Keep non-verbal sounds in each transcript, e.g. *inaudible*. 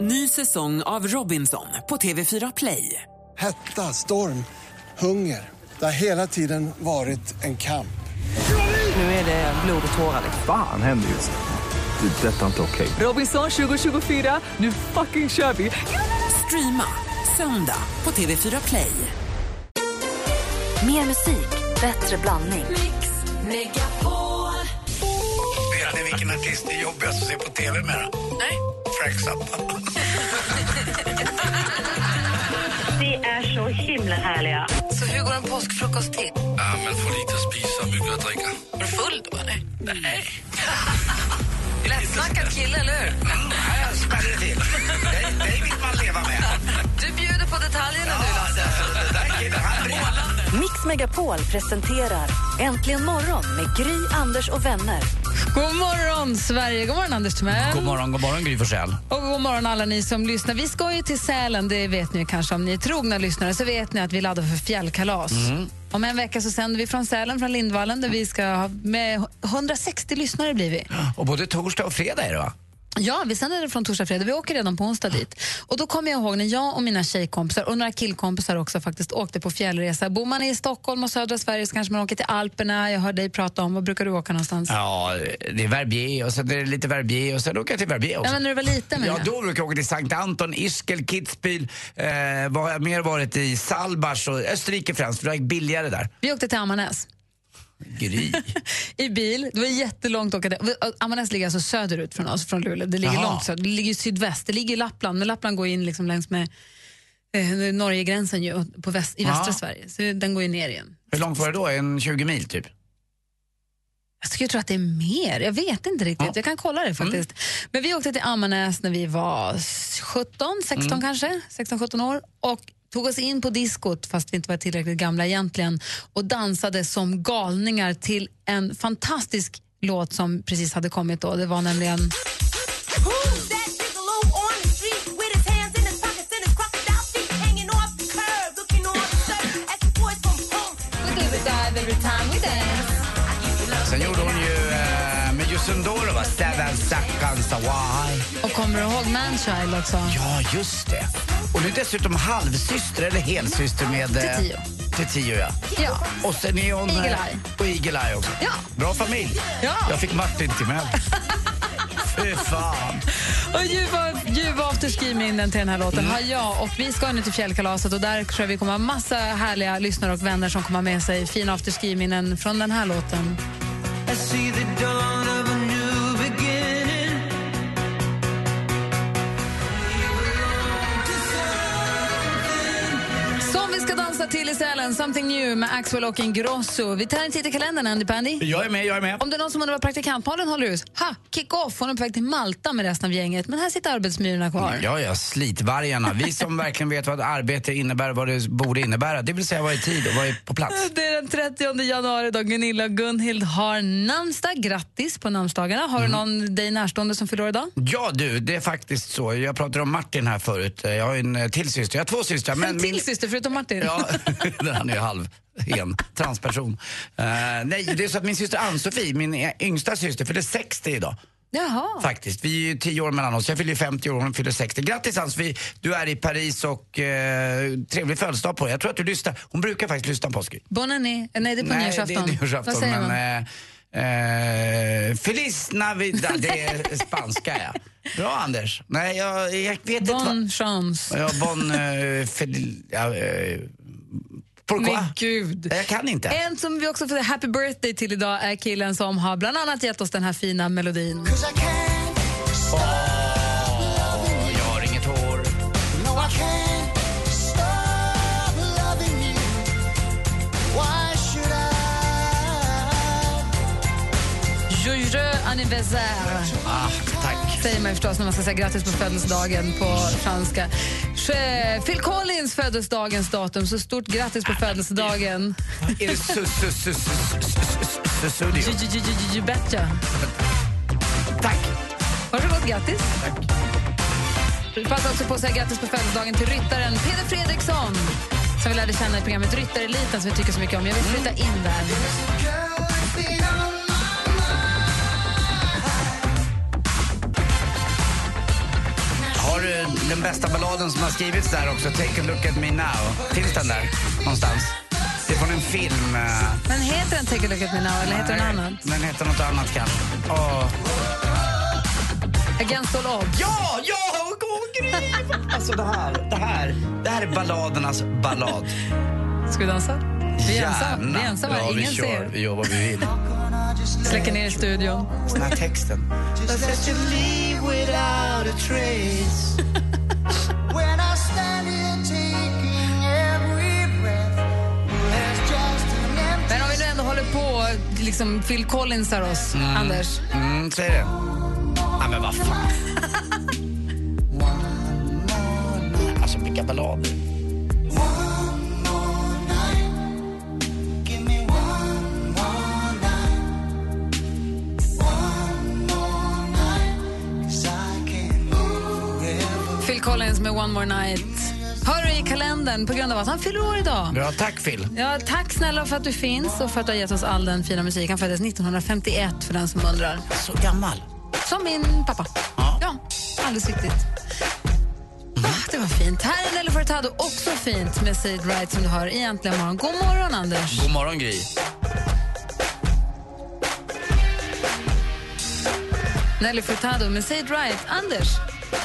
Ny säsong av Robinson på TV4 Play. Hetta, storm, hunger. Det har hela tiden varit en kamp. Nu är det blod och tårar. liksom. Fan händer just nu. Det. är Detta är inte okej. Robinson 2024, nu fucking kör vi! Streama söndag på TV4 Play. Mer musik, bättre blandning. Vet ni vilken artist det är jobbigast att se på tv med? Nej. Frank Zappa. Ni är så himla härliga. Så hur går en påskfrukost till? Ja, men får lite att spisa, mycket att dricka. Var du full då, eller? Nej. Lättsnackad kille, eller hur? Här smäller det till. Dig, dig vill man leva med. Du bjuder på detaljerna nu, Lasse. Den där killen, han brinner. Mix Megapol presenterar Äntligen morgon med Gry, Anders och vänner. God morgon, Sverige! God morgon, Anders Timell. God morgon, god morgon Gry Forssell. Och god morgon alla ni som lyssnar. Vi ska ju till Sälen, det vet ni kanske om ni är trogna lyssnare, så vet ni att vi laddar för fjällkalas. Mm. Om en vecka så sänder vi från Sälen, från Lindvallen, där vi ska ha med 160 lyssnare blir vi. Och både torsdag och fredag är det va? Ja, vi sänder från torsdag, fredag. Vi åker redan på onsdag dit. Och då kommer jag ihåg när jag och mina tjejkompisar och några killkompisar också faktiskt åkte på fjällresa. Bor man i Stockholm och södra Sverige så kanske man åker till Alperna. Jag hör dig prata om, var brukar du åka någonstans? Ja, det är Verbier och sen är det lite Verbier och sen åker jag till Verbier också. Nej, men när du var liten menar Ja, jag. då brukar jag åka till Sankt Anton, Ischgl, Kitzbühel. Eh, vad har jag mer varit i? Salbars och Österrike främst, för det gick billigare där. Vi åkte till Ammarnäs. *laughs* Gry. i bil. Det var jättelångt att åka. där. Ammarnäs ligger alltså söderut från oss, från Luleå. Det ligger Jaha. långt söder. Det ligger i sydväst. Det ligger i Lappland, men Lappland går in liksom längs med eh, Norgegränsen ju, och på väst, i västra Ja. Sverige. Så den går ju ner igen. Hur långt var det då? En 20 mil typ? Jag skulle tro att det är mer. Jag vet inte riktigt. Jag kan kolla det faktiskt. Men vi åkte till Ammarnäs när vi var 17, 16 kanske, 16-17 år och tog oss in på diskot fast vi inte var tillräckligt gamla egentligen och dansade som galningar till en fantastisk låt som precis hade kommit då. Det var nämligen Who's that gigolo on the street with his hands in his pockets and his crocodile feet hanging off the curb, looking on the surf at the boys from home? Sen gjorde hon ju eh, med Jussin Doro va? Seven seconds away. och kommer du ihåg Manchild också? Ja, just det. Och nu dessutom halvsyster eller helsyster med... eh, Till tio. Till tio, ja. Ja. Och sen är hon... eh, Eagle Eye. Och Eagle Eye också. Ja. Bra familj. Ja. Jag fick Martin Timell. Fy fan. Och ljuva, ljuva afterski-minnen till den här låten har jag. Och vi ska nu till fjällkalaset och där tror jag vi kommer ha massa härliga lyssnare och vänner som kommer ha med sig fina afterski-minnen från den här låten. Som vi ska dansa till i Sälen, Something New med Axwell och Ingrosso. Vi tar en titt i kalendern, Andy Pandy. Jag är med, jag är med. Om det är någon som undrar vad praktikantmalen håller ut, ha, kick-off, hon är på väg till Malta med resten av gänget, men här sitter arbetsmyrorna kvar. Ja, ja, slitvargarna. Vi som verkligen vet vad arbete innebär, vad det borde innebära. Det vill säga vad är tid och vad är på plats. Det är den 30 januari då Gunilla och Gunhild har namnsdag. Grattis på namnsdagarna. Har Mm. du någon dig närstående som fyller år idag? Ja du, det är faktiskt så. Jag pratade om Martin här förut. Jag har ju en eh, till syster. Jag har två systrar. Men en till min- syster förutom Martin. Ja, *laughs* han är ju halv en transperson. Eh, nej, det är så att min syster Ann-Sofie, min yngsta syster, fyller 60 idag. *laughs* Jaha. Faktiskt. Vi är ju 10 år mellan oss. Jag fyller 50 år och hon fyller 60. Grattis Ann-Sofie, du är i Paris och eh, trevlig födelsedag på dig. Jag tror att du lyssnar. Hon brukar faktiskt lyssna på oss. Gry. Bon année. Eh, Nej, det är på Nej, det nyårsafton. är Vad nyårsafton. säger Men, man? eh, eh, Feliz Navidad, det *laughs* är spanska ja. Bra Anders. Nej, jag, jag vet inte vad... Bon chance. Ja, bon... Eh, fel, ja, eh, pourquoi? Men gud. Jag kan inte. En som vi också får säga happy birthday till idag är killen som har bland annat gett oss den här fina melodin. Åh, jag har inget hår. Joyeux anniversaire. Ah, tack. säger man ju förstås när man ska säga grattis på födelsedagen på franska. Che- Phil Collins föddes dagens datum, så stort grattis på födelsedagen. Är det su- su- su- su- su- su- su- studio? You- you- you- you- you betcha. Tack. Varsågod, grattis. Vi passar också på att säga grattis på födelsedagen till ryttaren Peder Fredriksson som vi lärde känna i programmet Ryttareliten som vi tycker så mycket om. Jag vill flytta in där. Har du den bästa balladen som har skrivits där också, Take a look at me now. Finns den där någonstans? Det är från en film. eh, Men heter den Take a look at me now eller heter den annan? Den heter något annat kanske. Åh. Against all odds. Ja, ja, åh Gry! *laughs* Alltså det här, det här, det här är balladernas ballad. Ska vi dansa? Vi är ensamma, vi är ensamma. Ja, vi ingen kör. ser. Vi gör vad vi vill. Släcker ner i studion. *laughs* Den här texten. Men om vi nu ändå håller på, liksom Phil Collinsar oss, Anders. Mm, säg det. Nej, men vad *laughs* fan. Alltså, vilka ballader. Phil Collins med One More Night. Hör du i kalendern på grund av att han fyller år idag. Bra, tack Phil. Ja, tack snälla för att du finns och för att du har gett oss all den fina musik. Han föddes 1951 för den som undrar. Så gammal. Som min pappa. Ja, alldeles riktigt. Ah, det var fint. Här är Nelly Furtado, också fint med Say It Right som du hör i Äntligen morgon. God morgon, Anders. God morgon Gry. Nelly Furtado med Say It Right. Anders,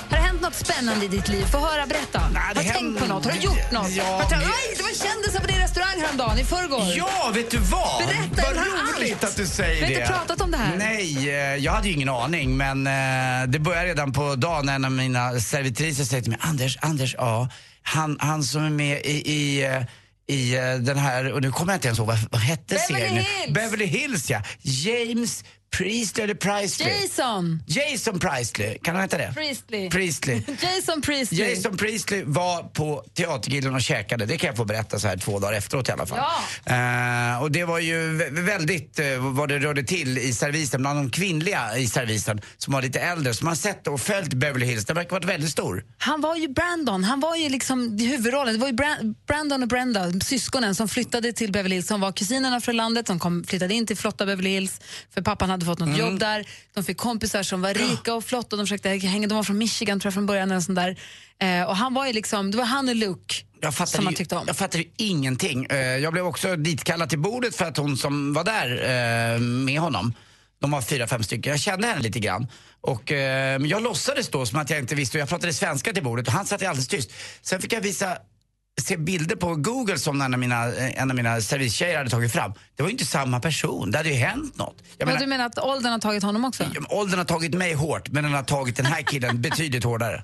har det hänt något spännande i ditt liv? Få höra, berätta. Nej, har det du tänkt händer- på något? Har du gjort något? Ja, har du tänkt, det- Aj, det var kändisar på din restaurang häromdagen, i förrgår. Ja, vet du vad? Berätta, jag vill vad ha roligt allt. att du säger Vi har det. inte pratat om det här. Nej, eh, jag hade ju ingen aning men eh, det började redan på dagen när en av mina servitriser säger till mig Anders, Anders, ja, han, han som är med i, i eh, i eh, den här, och nu kommer jag inte ens ihåg vad, vad hette Beverly serien. Hills. Beverly Hills ja. James Priestley eller Priestley? Jason Jason Priestley, kan han heta det? Priestley. Priestley. Jason Priestley. Jason Priestley var på Teatergillen och käkade. Det kan jag få berätta så här två dagar efteråt i alla fall. Eh, och det var ju vä- väldigt eh, vad det rörde till i servisen bland de kvinnliga i servisen som var lite äldre som har sett och följt Beverly Hills. Den verkar ha varit väldigt stor. Han var ju Brandon. Han var ju liksom i huvudrollen. Det var ju Bra- Brandon och Brenda, syskonen som flyttade till Beverly Hills. Som var kusinerna från landet, som kom, flyttade in till flotta Beverly Hills för pappan hade fått något Mm. jobb där. De fick kompisar som var rika och flotta. De försökte hänga. De var från Michigan tror jag från början. Eller sånt där. Eh, och han var ju liksom, det var han och Luke Jag fattade, som man ju- tyckte om. jag fattade ju ingenting. Eh, Jag blev också ditkallad till bordet för att hon som var där eh, med honom, de var fyra, fem stycken, jag kände henne lite grann. Och eh, men jag låtsades då som att jag inte visste och jag pratade svenska till bordet och han satt ju alldeles tyst. Sen fick jag visa se bilder på Google som en av mina, eh, en av mina servicetjejer hade tagit fram. Det var ju inte samma person, det hade ju hänt något. Jag Men menar, du menar att åldern har tagit honom också? Åldern har tagit mig hårt men den har tagit den här killen *laughs* betydligt hårdare.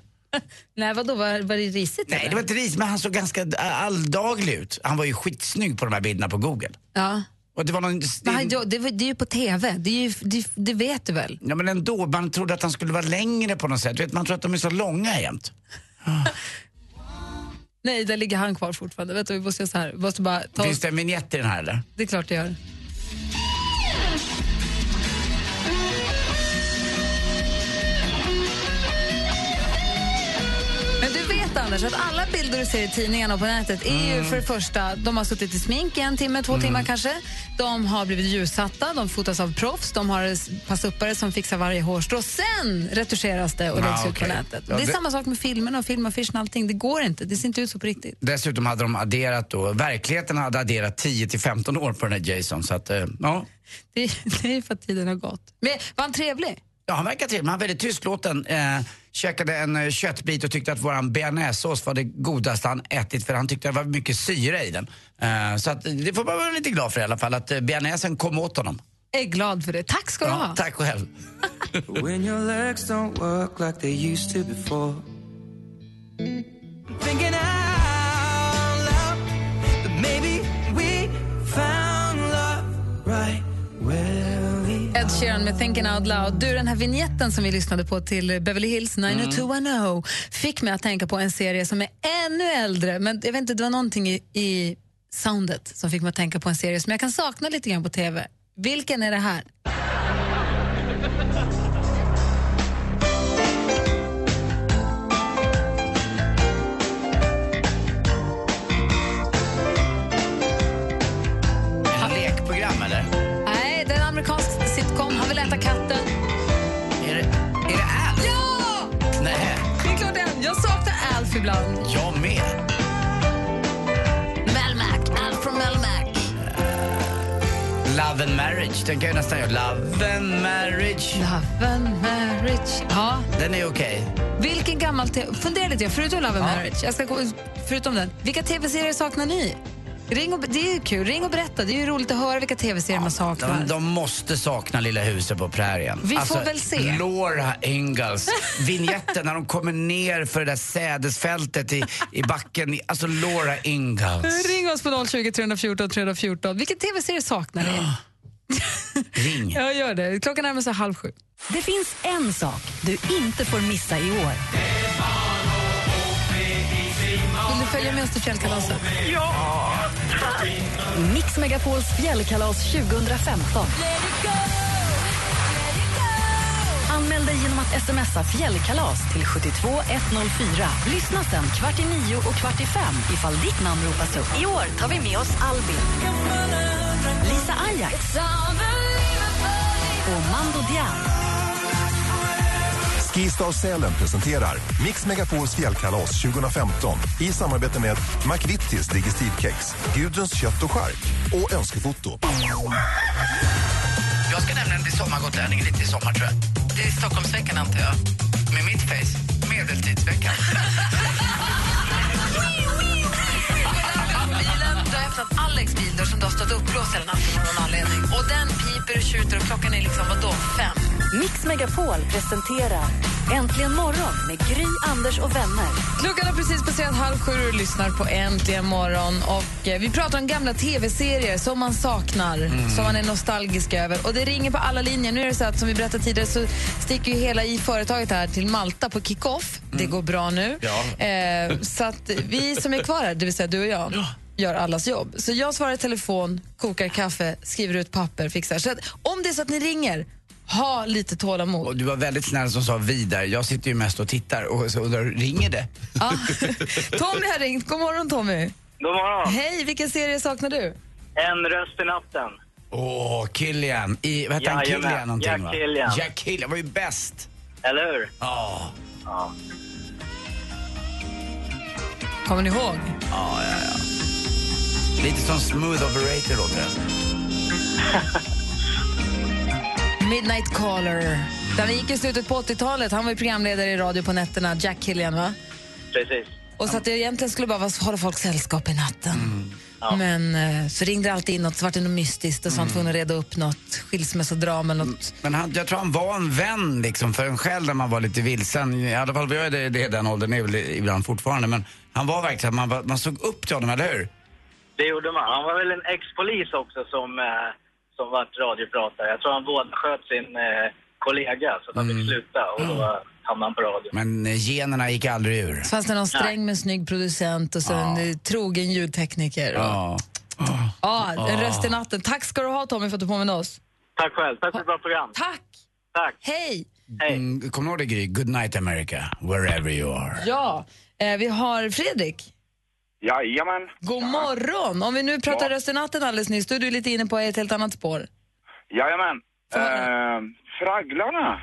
Nej, vadå, var, var det risigt? Nej, eller? det var inte ris, men han såg ganska eh, alldaglig ut. Han var ju skitsnygg på de här bilderna på Google. Ja. Och det var någon... Men han, det, var- det är ju på TV, det, är ju, det, det vet du väl? Ja, men ändå, man trodde att han skulle vara längre på något sätt. Du Vet, man tror att de är så långa jämt. Nej, där ligger han kvar fortfarande. Vet du, vi måste göra så här. Vi måste bara ta Finns det en vignett i den här eller? Det är klart det gör. Men du vet Anders att alla bilder du ser i tidningarna och på nätet är ju för det första, de har suttit i smink i en timme, två timmar kanske. De har blivit ljussatta, de fotas av proffs, de har passuppare som fixar varje hårstrå. Sen retuscheras det och Ja, läggs ut på okej. nätet. Ja, Ah, det är det- samma sak med filmerna och filmaffischen och allting. Det går inte, det ser inte ut så på riktigt. Dessutom hade de adderat då, verkligheten hade adderat 10 till 15 år på den här Jason. Så att, eh, ja. Det är, *laughs* det är ju för att tiden har gått. Men var han trevlig? ja, han verkar trevlig. men Han var väldigt tystlåten. Eh, käkade en eh, köttbit och tyckte att våran bearnaisesås var det godaste han ätit för han tyckte det var mycket syre i den. Eh, så att, eh, det får man vara lite glad för i alla fall, att eh, bearnaisen kom åt honom. är glad för det. Tack ska du Ja, ha. tack själv. Ed Sheeran med Thinking Out Loud. Du, den här vignetten som vi lyssnade på till Beverly Hills Mm. 90210 fick mig att tänka på en serie som är ännu äldre. Men jag vet inte, det var någonting i, i soundet som fick mig att tänka på en serie som jag kan sakna lite grann på tv. Vilken är det här? En lekprogram eller? Nej, det är en amerikansk sitcom. Han vill äta katten. Är det, är det Alf? Ja! Nej. Det är klart det är. Jag saknar off ibland. Jag med. Melmac, allt från Melmac. Love and marriage, den kan jag nästan göra. Love and marriage. Love and marriage. Ja. Den är okej. Vilken gammal te- Fundera lite, förutom Love and marriage. Jag ska gå, förutom den. Vilka tv-serier saknar ni? Ring och, det är ju kul. Ring och berätta. Det är ju roligt att höra vilka tv-serier man saknar. De, de måste sakna Lilla huset på prärien. Alltså, Vi får väl se. Laura Ingalls, vignetten när de kommer ner för det där sädesfältet i, i backen. Alltså Laura Ingalls. Ring oss på 020 314 314. Vilken tv-serie saknar ni? *laughs* Ring. Jag gör det. Klockan närmar sig halv sju. Det finns en sak du inte får missa i år. Vill du följa med oss till fjällkalaset? Mix Megapols fjällkalas 2015. Anmäl dig genom att smsa fjällkalas till 72104. Lyssna sen kvart i nio och kvart i fem ifall ditt namn ropas upp. I år tar vi med oss Albin, Lisa Ajax och Mando Dian. Skistar Sälen presenterar Mix Megapols fjällkalas 2015 i samarbete med McVittys Digestivkex, Gudruns kött och skark och Önskefoto. Jag ska nämligen bli sommargotlänning lite i sommar tror jag. Det är Stockholmsveckan antar jag. Med mitt face, medeltidsveckan. Bilen, du har öppnat Alex bildörr som du har stått uppblåst hela natten av någon anledning. Och den piper och tjuter och klockan är liksom vadå, fem? Mix Megapol presenterar Äntligen morgon med Gry, Anders och vänner. Klockan har precis passerat halv sju och lyssnar på Äntligen morgon. Och eh, vi pratar om gamla tv-serier som man saknar, som man är nostalgisk över. Och Det ringer på alla linjer. Nu är det så att Som vi berättade tidigare så sticker ju hela i företaget här till Malta på kick-off. Det går bra nu. Ja. Eh, så att vi som är kvar här, det vill säga du och jag, gör allas jobb. Så jag svarar i telefon, kokar kaffe, skriver ut papper, fixar. Så att, om det är så att ni ringer, ha lite *laughs* tålamod. Och du var väldigt snäll som sa vi där. Jag sitter ju mest och tittar och så undrar, ringer det? Ja. *laughs* Tommy har ringt. God morgon, Tommy. God morgon. Hej, vilken serie saknar du? En röst i natten. Åh, Killian. I, vad hette han? Jajamän. Killian någonting Jack va? Killian. Jack Killian var ju bäst. Eller hur? Ja. Ja. Kommer ni ihåg? Lite som Smooth Operator låter det. Midnight Caller. Den gick i slutet på 80-talet. Han var ju programledare i radio på nätterna, Jack Killian, va? Precis. Och så att det egentligen skulle bara vara att hålla folk sällskap i natten. Mm. Men eh, så ringde det alltid in något, så vart det något mystiskt och sånt, Mm. tvungen att reda upp något skilsmässodrama eller något. Men han, jag tror han var en vän liksom för en själv när man var lite vilsen. I alla fall var jag det, det i den åldern, är väl ibland fortfarande. Men han var verkligen, man, var- man såg upp till honom, eller hur? Det gjorde man. Han var väl en ex-polis också som, eh, som vart radiopratare. Jag tror han båda sköt sin eh, kollega så att han fick sluta och då hamnade han på radio. Men eh, generna gick aldrig ur. Så fanns det någon sträng men snygg producent och sen en eh, trogen ljudtekniker. Ja, Ja. en röst i natten. Tack ska du ha Tommy för att du påminner oss. Tack själv. Tack för ett bra program. Tack! Tack. Hej! Hej. Mm, Kommer du ihåg det Gry? Good night America, wherever you are. Ja, eh, vi har Fredrik. Jajamän. God morgon! Om vi nu pratar röst i natten alldeles nyss, då är du lite inne på ett helt annat spår. Jajamän. Eh, Få Eh. höra. fragglarna.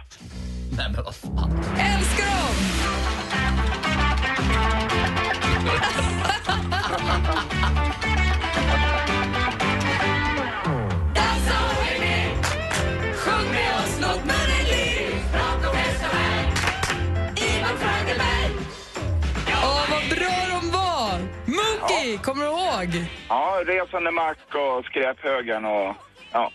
Älskar dem! Åh, vad bra de var! Mookie, kommer du ihåg? Ja, resande mack och skräphögen och ja.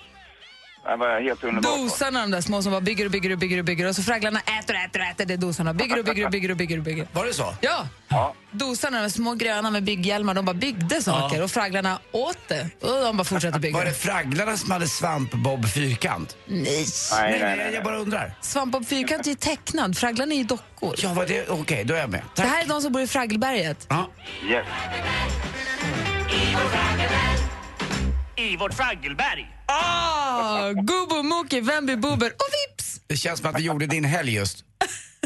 Det var helt underbart. Dosarna, de där små som bara bygger och bygger och bygger och bygger och så fragglarna äter och äter och äter. Det är dosarna. Bygger och bygger och bygger och bygger. Och bygger. Var det så? Ja! Ja. Dosarna, de små gröna med bygghjälmar, de bara byggde saker och fragglarna åt det. Och de bara fortsatte Var bygga. det fragglarna som hade svampbob fyrkant? Nej. Nej, Nej, nej, nej, nej. jag bara undrar. Svamp och fyrkant är ju tecknad, fragglarna är ju dockor. Ja, var det, okej, då är jag med. Det Tack. här är de som bor i Fraggelberget. Ja. Yes. I vårt Fraggelberg. Ah! Gubbo, Mookie, Vemby, Boober och vips! Det känns som att vi gjorde din helg just.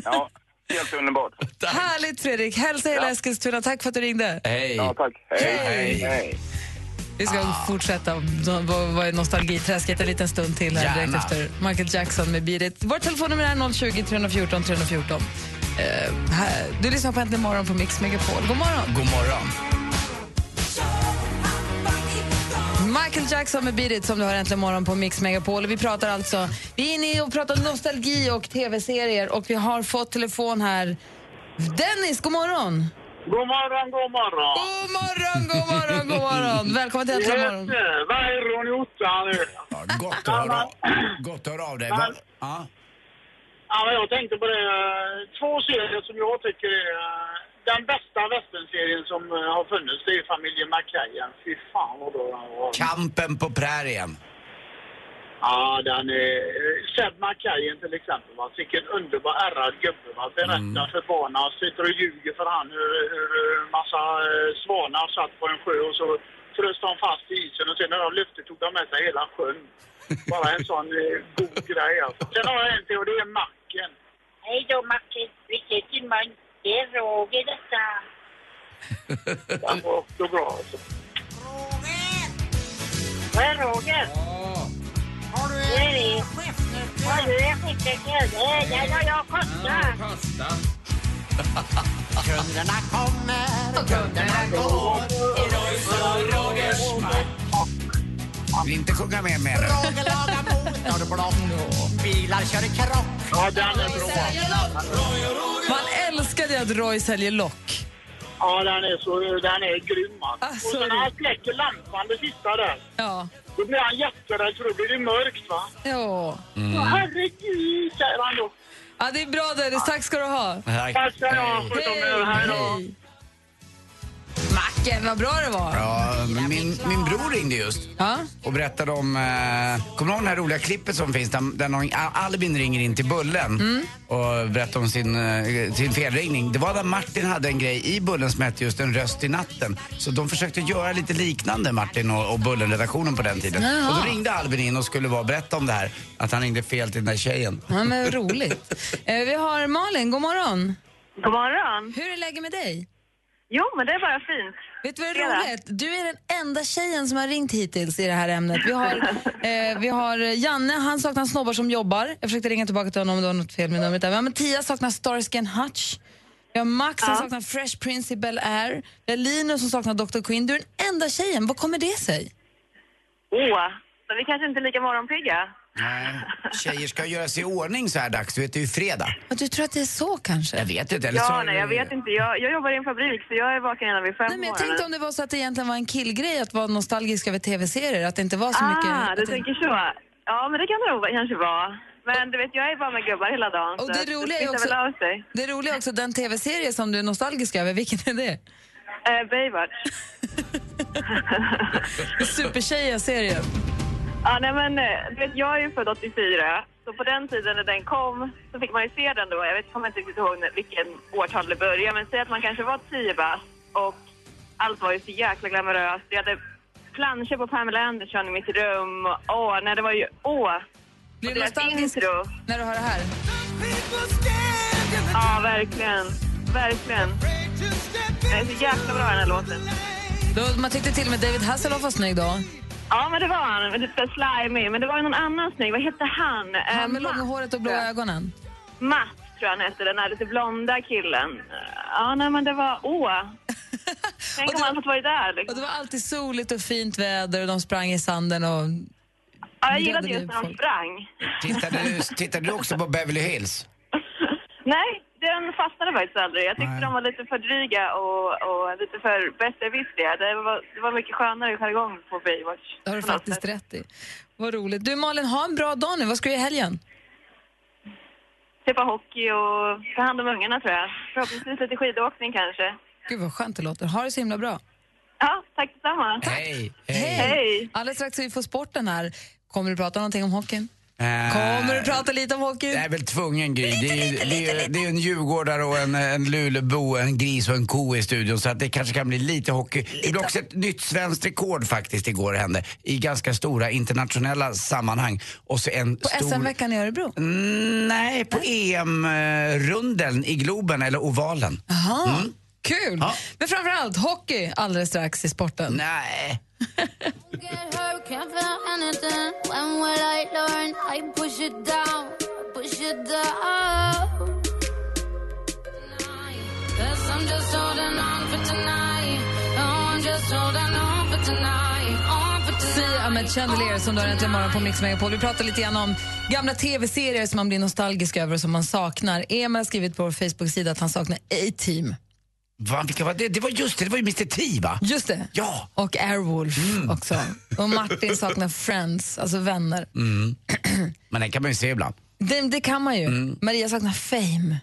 Ja, helt underbart. Härligt Fredrik! Hälsa hela Eskilstuna. Tack för att du ringde. Hej. Ja, tack. Hej. Hej. Vi ska fortsätta vara vara i nostalgiträsket en liten stund till här direkt Gärna. efter Michael Jackson med Beat It. Vårt telefonnummer är 020 314 314. Eh, här. Du lyssnar på Äntligen morgon på Mix Megapol. God morgon! God morgon. Michael Jackson med Beat It som du har äntligen morgon på Mix Megapol. Och Vi pratar alltså, vi är inne och pratar nostalgi och tv-serier och vi har fått telefon här. Dennis, god morgon! God morgon, god morgon! God morgon, god morgon, god morgon! Välkommen till Äntligen morgon! Jösses, Vad är Ronny Ottan nu? Gott att höra, gott att höra av dig. Va? Ja. Ja, men jag tänkte på det. eh, Två serier som jag tycker är... eh, Den bästa västernserien som eh, har funnits, det är familjen Mackajan. Fy fan vad bra den var. Kampen på prärien. Ja, den är... eh, Seb Mackajan till exempel, va. Vilken underbar ärrad gubbe, va. Berättar för barnen, sitter och ljuger för han hur, hur eh, massa eh, svanar satt på en sjö och så frös de fast i isen och sen när de lyfte tog de med sig hela sjön. Bara en sån eh, god grej alltså. Sen har jag en till och det är Macken. Hej då, Macke. Vi ses imorgon. Det är Roger *laughs* detta. Den var också bra alltså. Vad är Roger? Har du en chefnöte? Har du en chefnöte? Ja, ja, ja, kosta. Kunderna kommer, kunderna går. Rolfs och Rogers Vill inte sjunga med mer nu. Roger lagar motorblock. Bilar kör i krock. Ja, den är bra. Man älskade ju att Roy säljer lock. Ja, den är, så, den är grym alltså. Ah, och sen när han släcker lampan, det sista där. Ja. Då blir han jätterädd för då blir det mörkt va. Ja. Mm. herregud, säger han då. Ja, det är bra Dennis. Tack ska du ha. Tack. Tack ska ni ha. Mm. Sköt om er. Hej då. Macken, vad bra det var. Ja, men min, min bror ringde just och berättade om... Eh, kommer du ihåg det här roliga klippet som finns där, där någon, Al- Albin ringer in till Bullen Mm. och berättar om sin, eh, sin felringning? Det var där Martin hade en grej i Bullen som hette just En röst i natten. Så de försökte göra lite liknande, Martin och, och Bullen-redaktionen på den tiden. Jaha. Och då ringde Albin in och skulle vara, berätta om det här, att han ringde fel till den där tjejen. Ja, men roligt. Eh, Vi har Malin, god morgon. God morgon. Hur är läget med dig? Jo, men det är bara fint. Vet du vad det är roligt? Du är den enda tjejen som har ringt hittills i det här ämnet. Vi har, eh, vi har Janne, han saknar snobbar som jobbar. Jag försökte ringa tillbaka till honom om det var något fel med numret där. Vi har Mattias saknar Starsky and Hutch. Vi har Max, han Ja. saknar Fresh Prince i Bel Air. Vi har Linus som saknar Dr. Quinn. Du är den enda tjejen. Vad kommer det sig? Åh, men vi kanske inte är lika morgonpigga. Nej, tjejer ska göra sig i ordning så här dags. Du vet, det är ju fredag. Du tror att det är så kanske? Jag vet inte. Eller så Ja, nej, jag vet inte. Jag, jag jobbar i en fabrik, så jag är vaken redan vid fem Nej, men jag tänkte om det var så att det egentligen var en killgrej att vara nostalgisk över tv-serier. Att det inte var så mycket... Ah, att du det- tänker så. Ja, men det kan det nog kanske vara. Men du vet, jag är bara med gubbar hela dagen. Och så det att roliga är smittar också, väl av sig. det roliga är också den tv-serie som du är nostalgisk över, vilken är det? Eh, Baywatch. Supertjejer-serien. Ja, nej, men eh, du vet, jag är ju född 84. Så på den tiden när den kom så fick man ju se den då. Jag vet, kommer inte riktigt ihåg när- vilken årtal det började, men säg att man kanske var 10 bast och allt var ju så jäkla glamoröst. Vi hade planscher på Pamela Anderson i mitt rum. Åh, nej, det var ju... Åh! Blir du nostalgisk när du hör det här? Ja, verkligen. Verkligen. Det är så jäkla bra den här låten. Då, man tyckte till och med David Hasselhoff var snygg då. Ja, men det var han. Men Lite slimy. Men det var ju någon annan snygg. Vad hette han? Han med långa håret och blå ögonen. Matt tror jag han hette, den här lite blonda killen. Ja, nej men det var... Åh! Tänk om han fått vara där. Och det Liksom. var alltid soligt och fint väder och de sprang i sanden och... Ja, jag räddade gillade just liv när han folk. sprang. Tittade du, tittade du också på Beverly Hills? Nej, den fastnade faktiskt aldrig. Jag tyckte de var lite för dryga och, och lite för besserwissriga. Det var, det var mycket skönare jargong på Baywatch. Det har du faktiskt rätt i. Vad roligt. Du Malin, ha en bra dag nu. Vad ska du göra i helgen? Tippa Typ hockey och ta hand om ungarna tror jag. Förhoppningsvis lite skidåkning kanske. Gud vad skönt det låter. Ha det så himla bra. Ja, tack detsamma. Hej! Hej! Alldeles strax ska vi få sporten här. Kommer du prata någonting om hockeyn? Eh, Äh. Kommer du prata lite om hockey? Det är väl tvungen Gry. Det är ju det är, ju- det är ju en djurgårdare och en, en lulebo, en gris och en ko i studion så att det kanske kan bli lite hockey. Det blev också ett nytt svenskt rekord faktiskt igår hände i ganska stora internationella sammanhang. Och så en På stor... Mm, SM-veckan i Örebro? Nej, på EM-rundeln i Globen eller ovalen. Aha, Mm. kul! Ja. Men framförallt hockey alldeles strax i sporten. Nej. Can't feel anything. When will I learn? I push it down, push it down. I'm just holding on for tonight. Oh, I'm just holding on for tonight. On for tonight. Sia Ahmed Chandelier som du har äntligen morgon på Mix Megapol. Vi pratar lite grann om gamla tv-serier som man blir nostalgisk över och som man saknar. Emil har skrivit på vår Facebook-sida att han saknar A-Team. Va, vilka var det? det var just det, det var ju Mr T va? Just det. Ja. Och Airwolf också. Och Martin saknar Friends, alltså vänner. Mm. Men den kan man ju se ibland. Det, det kan man ju. Mm. Maria saknar Fame.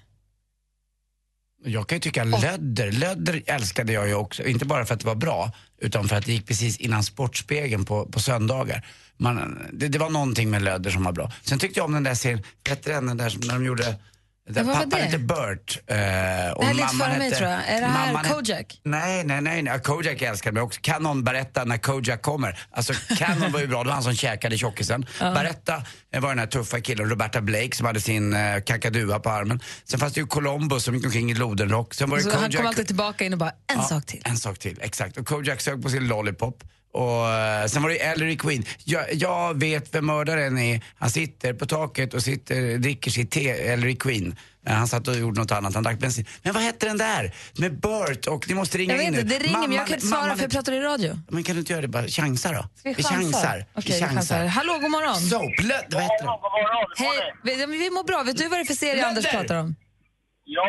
Jag kan ju tycka Lödder, Lödder älskade jag ju också. Inte bara för att det var bra, utan för att det gick precis innan Sportspegeln på, på söndagar. Man, det, det var någonting med Lödder som var bra. Sen tyckte jag om den där serien, vad hette den, den där som när de gjorde där vad var pappan det? hette Bert. Eh, och Det här är lite mamman före mig hette- tror jag. Är det här mamman hette- Kojak? Nej, nej, nej. nej. Kojak älskade mig också. Kan någon berätta när Kojak kommer? Alltså, Cannon var ju bra. Det var han som käkade tjockisen. Ja. Beretta eh, var den här tuffa killen, Roberta Blake, som hade sin eh, kakadua på armen. Sen fanns det ju Columbus som gick omkring i lodenrock. Sen var det Så Alltså, han Kojak. kom alltid tillbaka in och bara, en Ja, sak till. En sak till, exakt. Och Kojak sög på sin Lollipop. Och eh, sen var det ju Ellery Queen. Jag, jag vet vem mördaren är. Han sitter på taket och sitter, dricker sitt te, Ellery Queen. Eh, Han satt och gjorde något annat, han drack bensin. Men vad hette den där? Med Bert och ni måste ringa Jag vet in nu. inte, det ringer men jag kan inte svara mamman för jag är- pratar i radio. Men kan du inte göra det bara? Chansa då. Ska vi chansar? Okej, vi chansar. Hallå, god morgon. Soap, Lödd, vad heter den? Hej, vi, ja, men vi mår bra. Vet du vad det är för serie Lödder! Anders pratar om? Ja,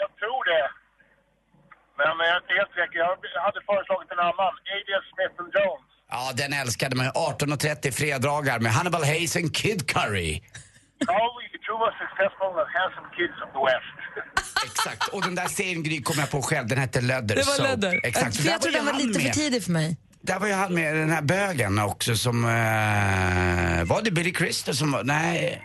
jag tror det. Men jag är inte helt säker. Jag hade föreslagit en annan. A.D. Smith and *laughs* Jones. Ja, den älskade man ju. 18.30 fredagar med Hannibal Hayes and Kid Curry. Always true and successful and handsome kids of the West. Exakt. Och den där serien Gry kom jag på själv, den hette Lödder. Det var Soap. Lödder. Exakt. För Där jag tror ju den var han lite för med. tidig för mig. Där var ju han med, den här bögen också som... eh, var det Billy Crystal som var... Nej.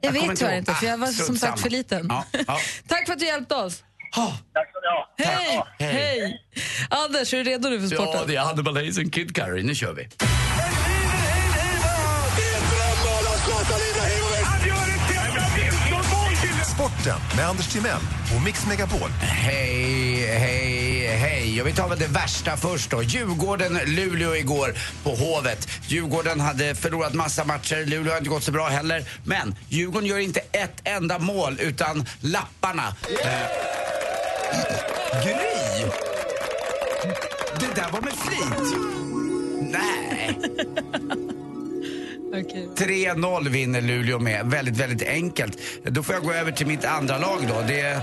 Jag, kommer vet tyvärr ihåg. inte, för Ah, jag var strunt som sagt samma. för liten. Ja, *laughs* ja. Tack för att du hjälpte oss. Tack ska ni ha. Hej! Hej. Hej! Anders, är du redo nu för Ja, sporten? det är Hannibal Hayes and Kid Curry. Nu kör vi. Sporten med Anders Timell och Mix Megapol. Hej, hej, hej. Och vi tar väl det värsta först då. Djurgården-Luleå igår på Hovet. Djurgården hade förlorat massa matcher. Luleå har inte gått så bra heller. Men Djurgården gör inte ett enda mål utan lapparna. Eh, Gry! Det där var med flit. Nej. 3-0 vinner Luleå med. Väldigt, väldigt enkelt. Då får jag gå över till mitt andra lag då. Det,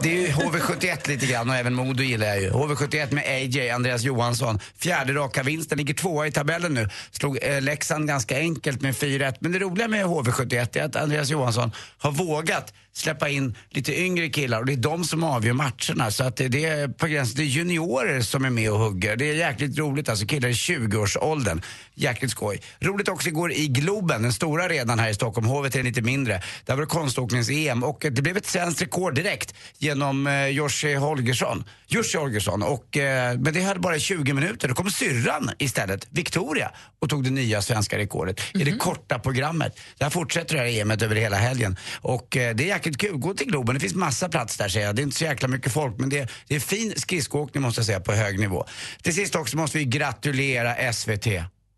det är ju HV71 lite grann och även Modo gillar jag ju. HV71 med AJ, Andreas Johansson. Fjärde raka vinsten, ligger tvåa i tabellen nu. Slog eh, Leksand ganska enkelt med 4-1. Men det roliga med HV71 är att Andreas Johansson har vågat släppa in lite yngre killar och det är de som avgör matcherna. Så att det, det är på gränsen till juniorer som är med och hugger. Det är jäkligt roligt alltså. Killar i 20-årsåldern. Jäkligt skoj. Roligt också igår i Globen, den stora arenan här i Stockholm. Hovet är lite mindre. Där var det konståknings-EM och eh, det blev ett svenskt rekord direkt genom eh, Joshi Holgersson. Joshi Holgersson. Och, eh, men det höll bara i 20 minuter. Då kom syrran istället, Victoria, och tog det nya svenska rekordet i Mhm. det korta programmet. Där fortsätter det här EMet över hela helgen. Och eh, det är jäkligt kul. Gå till Globen, det finns massa plats där säger jag. Det är inte så jäkla mycket folk men det, det är fin skridskoåkning måste jag säga på hög nivå. Till sist också måste vi gratulera SVT.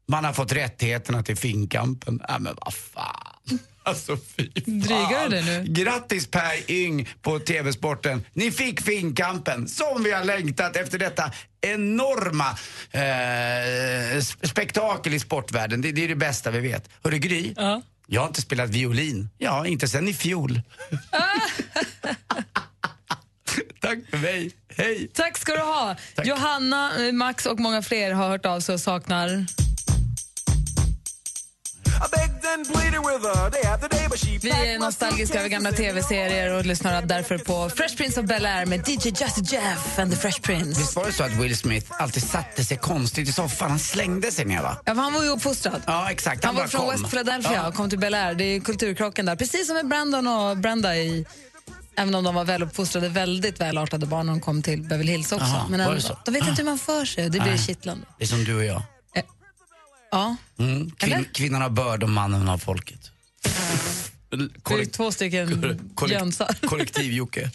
Man har fått rättigheterna till Finnkampen. Äh, men vad fan. *laughs* Alltså fy fan. Drygar du det nu? Grattis Per Yng på TV-sporten. Ni fick Finnkampen som vi har längtat efter detta enorma eh, sp- spektakel i sportvärlden. Det, det är det bästa vi vet. Hörru Gry, jag har inte spelat violin. Ja, inte sen i *laughs* fjol. Tack för mig. Hej! Tack ska du ha. Johanna, eh, Max och många fler har hört av sig och saknar... Vi är nostalgiska över gamla tv-serier och lyssnar därför på Fresh Prince of Bel-Air med DJ Justin Jeff and the Fresh Prince. Visst var det så att Will Smith alltid satte sig konstigt i soffan? Han slängde sig ner va? Ja, för han var ju uppfostrad. Ja, exakt. Han var bara från kom. West Philadelphia Ja. och kom till Bel Air. Det är kulturkrocken där. Precis som med Brandon och Brenda i... Även om de var väluppfostrade, väldigt välartade barn när de kom till Beverly Hills också. Jaha, Men var det ändå, så? de vet inte hur man för sig och det blir Nej. kittlande. Det är som du och jag. Ja. Mm. Kvin- kvinnan har börd och mannen har folket. Det är två stycken jönsar. Kollektiv-Jocke.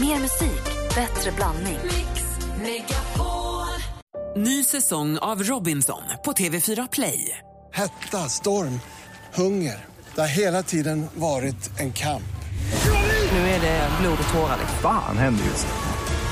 Mer musik, bättre blandning. Ny säsong av Robinson på TV4 Play. Hetta, storm, hunger. Det har hela tiden varit en kamp. Nu är det blod och tårar. Fan händer just nu.